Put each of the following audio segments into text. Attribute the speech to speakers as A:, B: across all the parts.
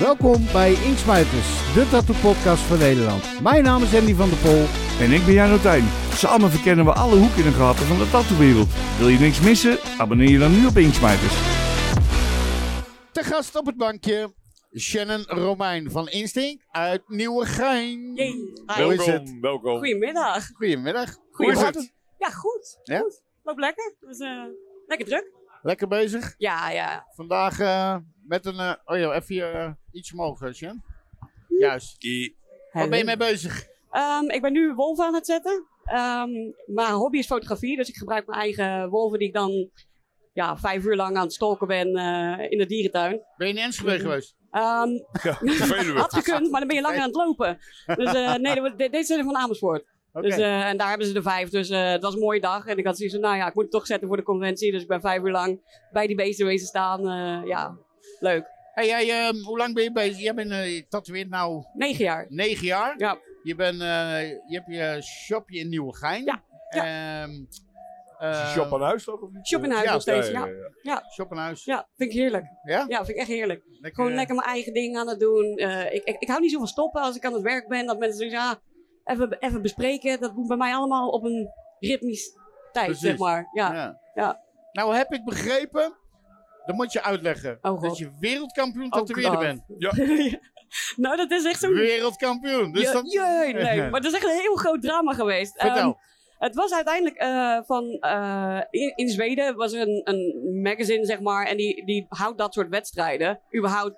A: Welkom bij Inksmuiters, de tattoo podcast van Nederland. Mijn naam is Andy van der Pol.
B: En ik ben Jan Otijn. Samen verkennen we alle hoeken en gaten van de tattoowereld. Wil je niks missen? Abonneer je dan nu op Inksmijters.
A: Te gast op het bankje, Shannon Romein van Instinct uit Nieuwegein.
C: Jee.
A: Hoe is het?
D: welkom.
C: Goedemiddag.
A: Goedemiddag.
C: Hoe is
A: Hoe is het?
C: Ja, goed.
A: Ja?
C: Goed. Loopt lekker. Dus, eh, lekker druk.
A: Lekker bezig.
C: Ja, ja.
A: Vandaag eh, met een... eh, oh ja, even hier, eh, iets omhoog, eh, Shannon. Juist. Waar ben je mee bezig?
C: Ehm, ik ben nu wolven aan het zetten. Ehm, mijn hobby is fotografie, dus ik gebruik mijn eigen wolven die ik dan ja, vijf uur lang aan het stalken ben eh, in de dierentuin.
A: Ben je in Enschede geweest?
C: Ehm had gekund, maar dan ben je langer aan het lopen. Dus eh, nee, dat was- de- deze zijn van Amersfoort.
A: Oké.
C: Dus, eh, en daar hebben ze de vijf, dus eh, het was een mooie dag. En ik had zoiets van, nou ja, ik moet het toch zetten voor de conventie. Dus ik ben vijf uur lang bij die beesten wezen staan. Eh, ja, leuk.
A: hey, jij, ehm, hoe lang ben je bezig? Jij bent eh tatoeëerd nou
C: Negen jaar.
A: negen jaar.
C: Ja.
A: Je, bent, eh, je hebt je shopje in Nieuwegein.
C: Ja,
A: Ehm, eh,
D: shop aan huis toch? Of niet?
C: Shop in huis
A: Ja,
C: nog steeds.
D: Ja,
C: Ja,
D: ja, ja.
A: Shop aan huis.
C: ja, vind ik heerlijk.
A: Ja?
C: Ja, vind ik echt heerlijk.
A: Lekker,
C: Gewoon
A: eh,
C: lekker mijn eigen ding aan het doen. Eh, ik, ik, ik hou niet zo van stoppen als ik aan het werk ben. Dat mensen zeggen, ja, even, even bespreken. Dat moet bij mij allemaal op een ritmisch tijd,
A: Precies.
C: zeg maar. Ja. Ja.
A: Nou heb ik begrepen, dat moet je uitleggen,
C: Oh, God.
A: dat je wereldkampioen
C: Oh,
A: tatoeëerder
C: God.
A: bent.
C: nou, dat is echt zo'n...
A: Wereldkampioen. Dus
C: Je-
A: dat...
C: Jee, nee. Maar dat is echt een heel groot drama geweest.
A: Vertel.
C: Ehm, het was uiteindelijk eh, van. eh, in, in Zweden was er een, een magazine, zeg maar. En die, die houdt dat soort wedstrijden. Überhaupt.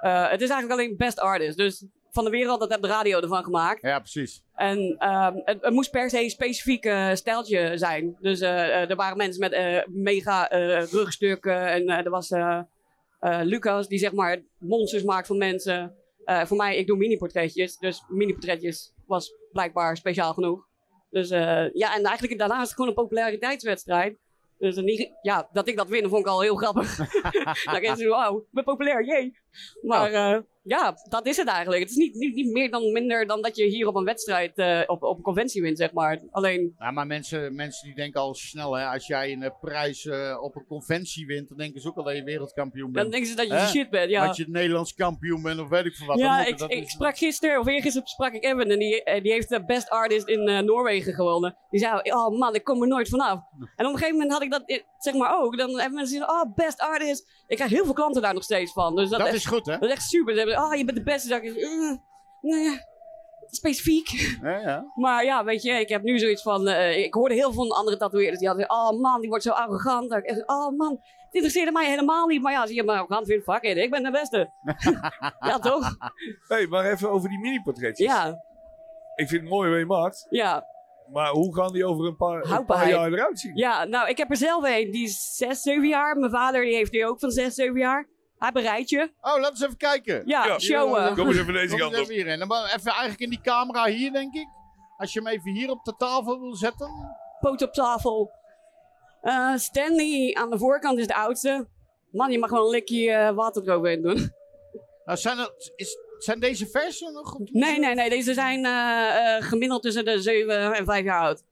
C: Eh, het is eigenlijk alleen Best Artist. Dus van de wereld, dat heb de radio ervan gemaakt.
A: Ja, precies.
C: En ehm, het, het moest per se een specifiek eh, stijltje zijn. Dus eh, eh, er waren mensen met eh, mega eh, rugstukken. En eh, er was eh, eh, Lucas die zeg maar monsters maakt van mensen. Eh, voor mij, ik doe mini-portretjes. Dus mini-portretjes was blijkbaar speciaal genoeg. Dus eh, ja, en eigenlijk daarna is het gewoon een populariteitswedstrijd. Dus dan niet- ja, dat ik dat win, vond ik al heel grappig. Dan denk je, wauw, ik ben populair, jee. Maar eh, ja, dat is het eigenlijk. Het is niet, niet, niet meer dan minder dan dat je hier op een wedstrijd, eh, op, op een conventie wint, zeg maar. Alleen,
A: Ja, Nou, maar mensen, mensen die denken al snel, hè, als jij een eh, prijs eh, op een conventie wint, dan denken ze ook al dat je wereldkampioen
C: dan
A: bent.
C: denken ze dat je
A: Hè?
C: shit bent, ja.
A: Dat je Nederlands kampioen bent of weet ik veel wat. Dan
C: Ja,
A: moeten
C: ik,
A: dat
C: ik
A: dus-
C: sprak gisteren, of eergisteren sprak ik Evan en die, eh, die heeft de Best Artist in eh, Noorwegen gewonnen. Die zei, oh man, ik kom er nooit vanaf. En op een gegeven moment had ik dat, eh, zeg maar ook, dan hebben mensen gezien, oh Best Artist. Ik krijg heel veel klanten daar nog steeds van, dus dat,
A: Dat
C: echt-
A: is goed, hè?
C: dat is echt super. Ze hebben, oh je bent de beste, dan denk ik, eh, nee, specifiek.
A: Ja, ja.
C: Maar ja, weet je, ik heb nu zoiets van. eh, ik hoorde heel veel van andere tatoeëerders die hadden. Oh man, die wordt zo arrogant. Dat ik echt, oh man, het interesseerde mij helemaal niet. Maar ja, zie je maar arrogant vindt, fuck it, ik ben de beste. ja, toch?
D: Hey, maar even over die mini-portretjes.
C: Ja,
D: Ik vind het mooi wat je maakt,
C: ja.
D: maar hoe gaan die over een paar, een paar
C: Houdbaarheid.
D: jaar eruit zien?
C: Ja, nou, ik heb er zelf een. Die is 6, 7 jaar. Mijn vader die heeft die ook van 6, 7 jaar. Hij bereidt je.
A: Oh, laten we even kijken.
C: Ja,
D: Ja.
C: showen.
D: Kom eens even deze
A: Kom
D: kant
A: eens
D: op.
A: even hierin. Dan maar even eigenlijk in die camera hier, denk ik. Als je hem even hier op de tafel wil zetten.
C: Poot op tafel. Eh, Stanley aan de voorkant is de oudste. Man, je mag wel een likje eh, water eroverheen doen.
A: Nou, zijn, dat, is, zijn deze versen nog? op de-
C: Nee, nee, nee. Deze zijn eh, eh, gemiddeld tussen de 7 en 5 jaar oud.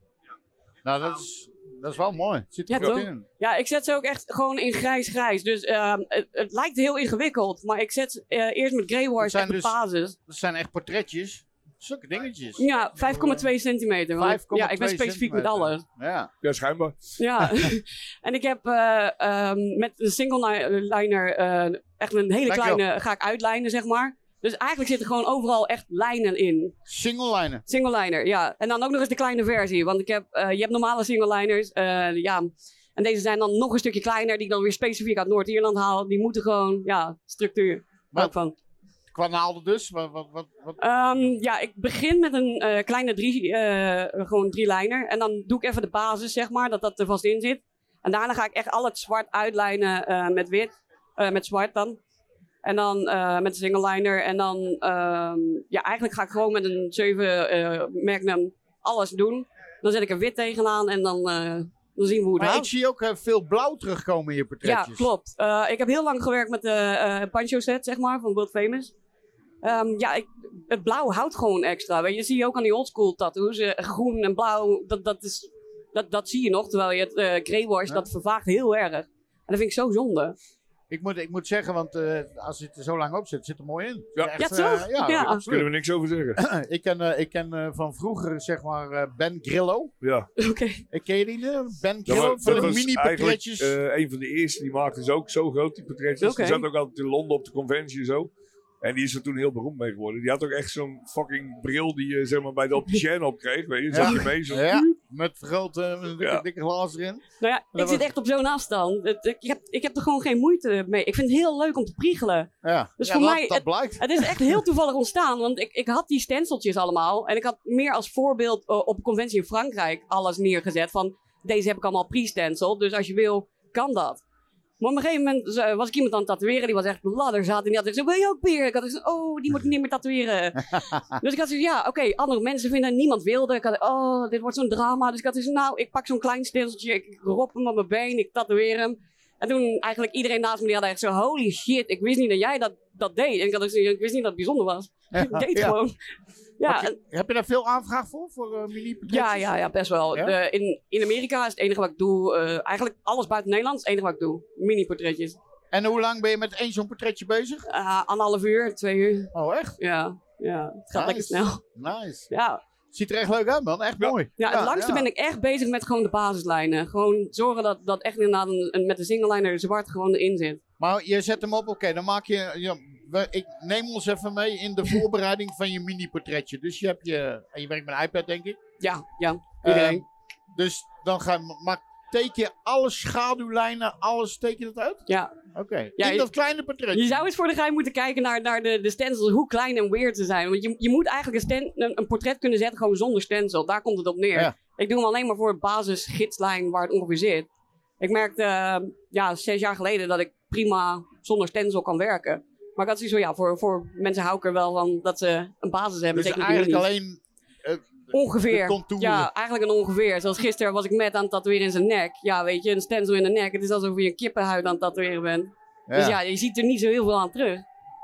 A: Nou, dat is, dat is wel mooi. Het zit er
C: Ja,
A: goed
C: toch?
A: in.
C: Ja, ik zet ze ook echt gewoon in grijs-grijs. Dus ehm, het, het lijkt heel ingewikkeld. Maar ik zet ze, eh, eerst met Grey
A: Het
C: Wars
A: zijn
C: echt de
A: dus-
C: basis.
A: Dat zijn echt portretjes. Zulke dingetjes.
C: Ja,
A: Oh,
C: 5,2 centimeter. want-
A: 5,2
C: ja, ik ben specifiek met
A: centimeter.
C: alles.
A: Ja.
D: Ja, schijnbaar.
C: Ja. en ik heb eh, ehm, met een single li- liner eh, echt een hele
A: Dankjewel.
C: kleine... Ga ik uitlijnen, zeg maar. Dus eigenlijk zitten gewoon overal echt lijnen in.
A: Single lijnen.
C: Single liner, ja. En dan ook nog eens de kleine versie. Want ik heb, eh, je hebt normale single liners. eh, ja. En deze zijn dan nog een stukje kleiner, die ik dan weer specifiek uit Noord-Ierland haal. Die moeten gewoon, ja, structuur.
A: Maar-
C: Ook van.
A: Qua naalden dus. Wat, wat, wat, wat-
C: Ehm, ja, ik begin met een eh, kleine drie, eh, gewoon drie liner. En dan doe ik even de basis, zeg maar, dat dat er vast in zit. En daarna ga ik echt al het zwart uitlijnen eh, met wit, eh, met zwart dan. En dan eh, met de single liner. En dan, ehm, ja, eigenlijk ga ik gewoon met een 7 eh Magnum alles doen. Dan zet ik er wit tegenaan en dan, eh, dan zien we hoe het
A: Maar ik
C: gaat.
A: zie ook eh, veel blauw terugkomen in je
C: Ja,
A: portretjes.
C: klopt. Eh, ik heb heel lang gewerkt met de eh Pancho set, zeg maar, van World Famous. Ehm, ja, ik, het blauw houdt gewoon extra. Weet je, Dat zie je ook aan die oldschool tattoos. eh, groen en blauw, dat, dat, is, dat, dat zie je nog. Terwijl je het eh Grey Wars,
A: Ja.
C: dat vervaagt heel erg. En dat vind ik zo zonde.
A: Ik moet, ik moet zeggen, want eh, als het er zo lang op zit, zit er mooi in.
D: Ja.
A: Echt,
C: Ja,
A: eh,
C: toch?
A: ja,
C: Ja.
A: absoluut.
D: Kunnen we niks over zeggen.
A: ik ken, eh, ik ken eh, van vroeger, zeg maar, eh, Ben Grillo.
D: Ja.
C: Oké. nou
A: Ik ken je die? eh, Ben
D: Ja,
A: Grillo
D: maar
A: van
D: dat
A: de
D: was eigenlijk,
A: mini-portretjes.
D: eh, een van de eerste die maakte ze ook zo groot, die portretjes.
C: Oké.
D: Die zat ook altijd in Londen op de conventie en zo. En die is er toen heel beroemd mee geworden. Die had ook echt zo'n fucking bril die je zeg maar, bij de opticien op kreeg. Weet je,
A: Ja.
D: zat je mee. Zo.
A: ja,
C: Mhm.
A: met grote, met een dikke,
D: Ja.
A: dikke glazen erin.
C: Nou ja,
A: Dat
C: ik zit
A: was-
C: echt op zo'n afstand. Het- ik, heb, ik heb er gewoon geen moeite mee. Ik vind het heel leuk om te priegelen.
A: Ja,
C: Dus
A: Ja,
C: voor
A: dat,
C: mij-
A: dat blijkt.
C: Het is echt heel toevallig ontstaan, want ik, ik had die stenciltjes allemaal. En ik had meer als voorbeeld eh, op een conventie in Frankrijk alles neergezet van... Deze heb ik allemaal pre-stencil, dus als je wil, kan dat. Maar op een gegeven moment eh, was ik iemand aan het tatoeëren. Die was echt ladderzaad. En die had gezegd, wil je ook weer? Ik had gezegd, oh, die moet ik niet meer tatoeëren. dus ik had gezegd, ja, oké, andere mensen vinden, niemand wilde. Ik had, oh, dit wordt zo'n drama. Dus ik had gezegd, nou, ik pak zo'n klein stenciltje. Ik rop hem op mijn been, ik tatoeëer hem. En toen eigenlijk iedereen naast me, die had echt zo, holy shit, ik wist niet dat jij dat, dat deed. En ik, had gezegd, ik wist niet dat het bijzonder was. ik deed het
A: Ja.
C: gewoon. Ja, en-
A: Heb je daar veel aanvraag voor, voor eh, mini-portretjes?
C: ja, ja, ja, best wel.
A: Ja?
C: De- in, in Amerika is het enige wat ik doe, eh, eigenlijk alles buiten Nederland is het enige wat ik doe. Mini-portretjes.
A: En hoe lang ben je met één zo'n portretje bezig?
C: Eh, anderhalf uur, twee uur.
A: Oh, echt?
C: Ja, ja het
A: Nice.
C: gaat lekker snel.
A: Nice.
C: Ja.
A: Ziet er echt leuk uit, man. Echt mooi.
C: Ja, het langste ben ik echt bezig met gewoon de basislijnen. Gewoon zorgen dat, dat echt inderdaad een, een- met de singleliner zwart gewoon erin zit.
A: Maar je zet hem op, oké, dan maak je... ja, we- ik neem ons even mee in de voorbereiding van je mini-portretje. Dus je hebt je... En je werkt met een iPad, denk ik.
C: Ja, ja. Iedereen.
A: Ehm, dus dan ga je... Maar teken je alle schaduwlijnen, alles teken je dat uit?
C: ja.
A: Oké.
C: Ja,
A: in
C: je-
A: dat kleine portretje.
C: Je zou eens voor de gein moeten kijken naar, naar de, de stencils, hoe klein en weird ze zijn. Want je, je moet eigenlijk een, stan- een, een portret kunnen zetten gewoon zonder stencil. Daar komt het op neer.
A: Ja.
C: Ik doe hem alleen maar voor het basisgidslijn waar het ongeveer zit. Ik merkte eh, ja, zes jaar geleden dat ik prima zonder stencil kan werken. Maar ik had zoiets van, ja, voor, voor mensen hou ik er wel van dat ze een basis hebben.
A: dus
C: Zeker
A: eigenlijk
C: jullie.
A: alleen... eh,
C: Ongeveer.
A: De contouren.
C: Ja, eigenlijk een ongeveer. Zoals gisteren was ik met aan het tatoeëren in zijn nek. Ja, weet je, een stencil in de nek. Het is alsof je een kippenhuid aan het tatoeëren bent. Dus ja, je ziet er niet zo heel veel aan terug.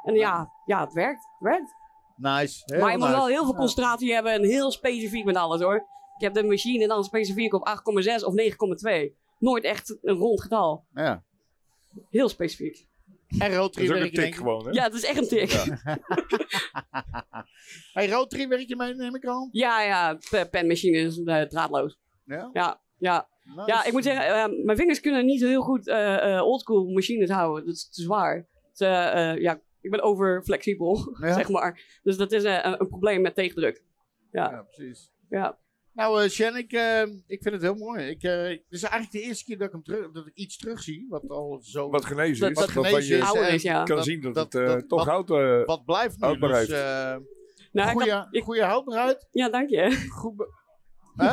C: En ja, ja het werkt. Het werkt.
A: Nice. Heel
C: maar je moet
A: nice.
C: wel heel veel
A: Ja.
C: concentratie hebben en heel specifiek met alles hoor. Ik heb de machine dan specifiek op 8,6 of 9,2. Nooit echt een rond getal.
A: Ja.
C: Heel specifiek.
A: En
D: Dat
A: Rotary
D: is ook een
A: werk je
D: tik
A: denk ik.
D: gewoon, hè?
C: Ja, het is echt een tik. Ja,
A: Hey, Rotary werk je mee, neem ik al?
C: ja, pe- penmachine is eh, draadloos.
A: Ja.
C: Ja, ja.
A: Nice.
C: ja, ik moet zeggen, eh, mijn vingers kunnen niet zo heel goed eh, eh, oldschool machines houden. Dat is te zwaar. Dus, eh, eh, ja, ik ben overflexibel,
A: Ja.
C: zeg maar. Dus dat is eh, een, een probleem met tegendruk.
A: Ja, precies.
C: Ja.
A: Nou, eh Shen, ik, eh, ik vind het heel mooi. Ik, eh, dit is eigenlijk de eerste keer dat ik, hem terug, dat ik iets terugzie. Wat al zo.
D: Wat genezen
C: Dat-
A: wat
D: is. Wat
A: genezen
D: van je
A: is. eh,
D: kan
C: ouder
A: en
C: is, ja. Nou,
A: dat-
D: zien dat,
A: dat-
D: het eh,
A: dat-
D: toch
A: wat-
D: houdt. eh,
A: wat blijft nu?
D: Houdbaar
A: Dus,
D: heeft.
A: eh,
C: Nou, ik
A: goeie,
C: had- ik-
A: goeie houdbaarheid.
C: ja, dank je.
A: Goed be- Hè?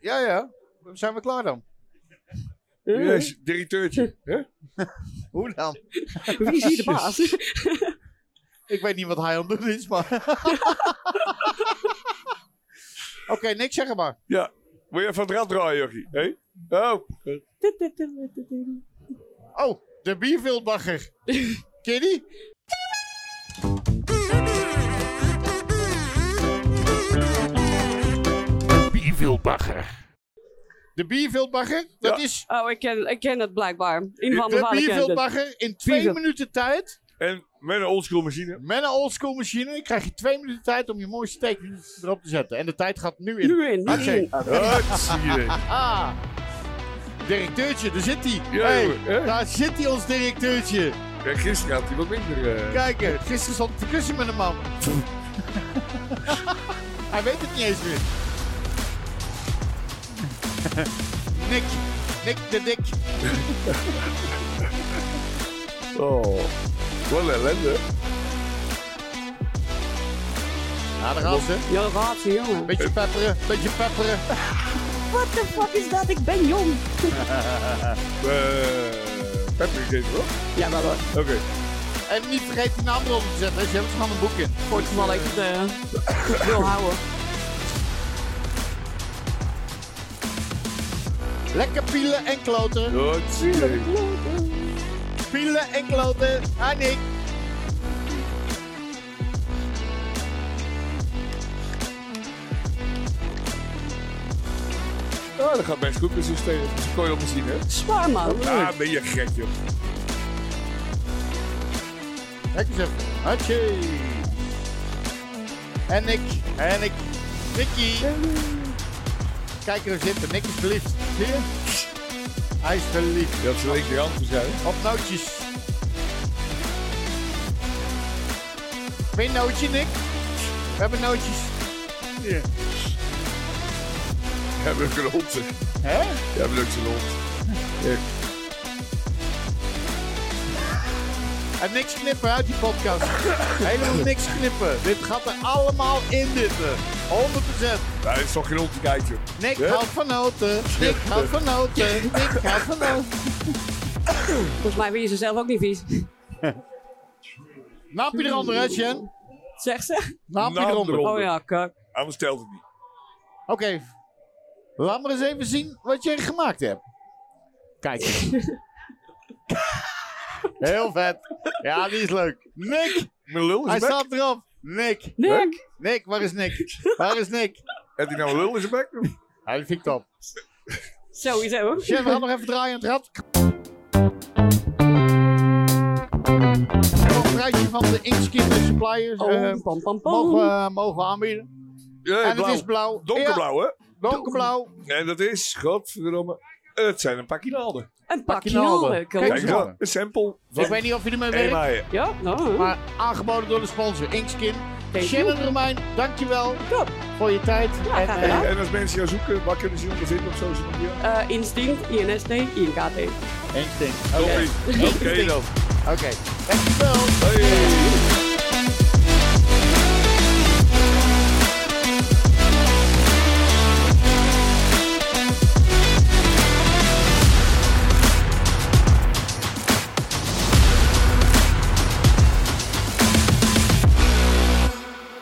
A: Ja, ja. Zijn we klaar dan?
D: yes, directeurtje. hè?
A: Hoe dan?
C: Wie is hier de baas?
A: Ik weet niet wat hij aan het doen is, maar. Oké, niks zeggen maar.
D: Ja. Wil je even het rad draaien, Jochie? Hé? Oh.
A: Oh, de bierveldbagger. Ken je die? De bierveldbagger, dat
D: Ja.
A: is
C: oh, ik ken, ik ken het blijkbaar. In ieder geval mijn
A: de
C: vader kent het.
A: bierveldbagger in twee
C: Bierveld.
A: minuten tijd.
D: En met een oldschool machine.
A: Met een oldschool machine krijg je twee minuten tijd om je mooiste tekening erop te zetten. En de tijd gaat nu in.
C: Nu in, nu
A: Hartstikke.
C: in.
D: Wat zie je?
A: Ah, directeurtje, daar zit hij.
D: Ja,
A: hey,
D: jongen, hè?
A: daar zit hij ons directeurtje.
D: Ja, Gisteren had hij wat minder. eh,
A: Kijk, hè, gisteren stond ik te kussen met een man. Hij weet het niet eens meer. Nick, Nick de Dik.
D: Oh. Wat een ellende.
A: Nou, daar gaan ze.
C: Ja, raadse jongen.
A: Beetje pepperen, beetje pepperen.
C: What the fuck is dat? Ik ben jong.
D: Eh, Patrick deed het wel.
C: Ja, wel hoor.
D: Oké.
A: En niet vergeten die naam eronder te zetten, hè. ze hebben gewoon een boek in.
C: Voor het geval dat ik het eh, wil houden.
A: Lekker pielen en kloten.
D: Wat zie je?
A: Pielen en kloten. Ah, Nick.
D: Ja, Ah, dat gaat best goed met zo'n steen. Dat kon je al misschien, hè?
C: Zwaar man.
D: Ah, ben je gek, joh.
A: Kijk eens even. Hatje. En ik. En ik. Nicky. Kijk er zitten. Nick is verliefd. Zie je? Hij is verliefd.
D: Dat is één keer anders zijn.
A: Op nootjes. Weer een nootje, Nick. We hebben nootjes. Hier.
D: We hebben een hond.
A: Hè?
D: We hebben ook zo'n hond.
A: En niks knippen uit die podcast. Helemaal niks knippen. Dit gaat er allemaal in zitten. 100%.
D: Ja, het is toch geen hond te kijken.
A: Nick
D: Ja?
A: houdt van noten. Nick houdt van noten. Nick houdt van noten.
C: Volgens mij wil je ze zelf ook niet vies.
A: Naapje eronder, hè, Sjen?
C: Zegt ze?
A: Naapje
D: Naap
A: eronder.
D: eronder.
A: Oké.
C: Oh ja, kak.
D: Anders telt het niet.
A: Laat maar eens even zien wat jij gemaakt hebt. Kijk. Heel vet. Ja, die is leuk. Nick,
D: Mijn lul
A: hij
D: is bek.
A: staat erop. Nick.
C: Nick!
A: Nick, waar is Nick? Waar is Nick?
D: Heeft hij nou een lul in zijn bek? Of-
A: Hij die vind ik top.
C: Sowieso.
A: Sjen, we gaan nog even draaien aan het rad. En nog een prijsje van de Inskinder Suppliers eh,
C: Oh, pam, pam,
A: mogen,
C: pam.
A: we- mogen we aanbieden.
D: Ja,
A: en
D: blauw.
A: het is blauw.
D: Donkerblauw, hè?
A: Ja, donkerblauw.
D: En dat is, godverdomme, het zijn een pakje naalden.
C: Een
A: Pak je
C: pakje
A: naalden.
C: naalden.
A: Kijk
D: Kijk
A: eens
D: eens
A: aan.
D: aan, een sample
A: Ik
D: van
A: weet niet of je ermee werkt.
D: Emaille.
C: Ja, nou.
A: Maar aangeboden door de sponsor Inkskin.
C: Thank
A: Shannon
C: you.
A: Romein, dankjewel
C: Top.
A: voor je tijd.
C: Ja,
A: en,
C: graag
A: eh,
C: gedaan.
D: En als mensen jou zoeken, waar kunnen ze je ondervinden op social media?
C: Eh, Instinct, INST, INKT.
A: Inkskin.
D: Oké,
A: eh, Oké.
D: oké dan.
A: Oké. Dankjewel.
D: Hey.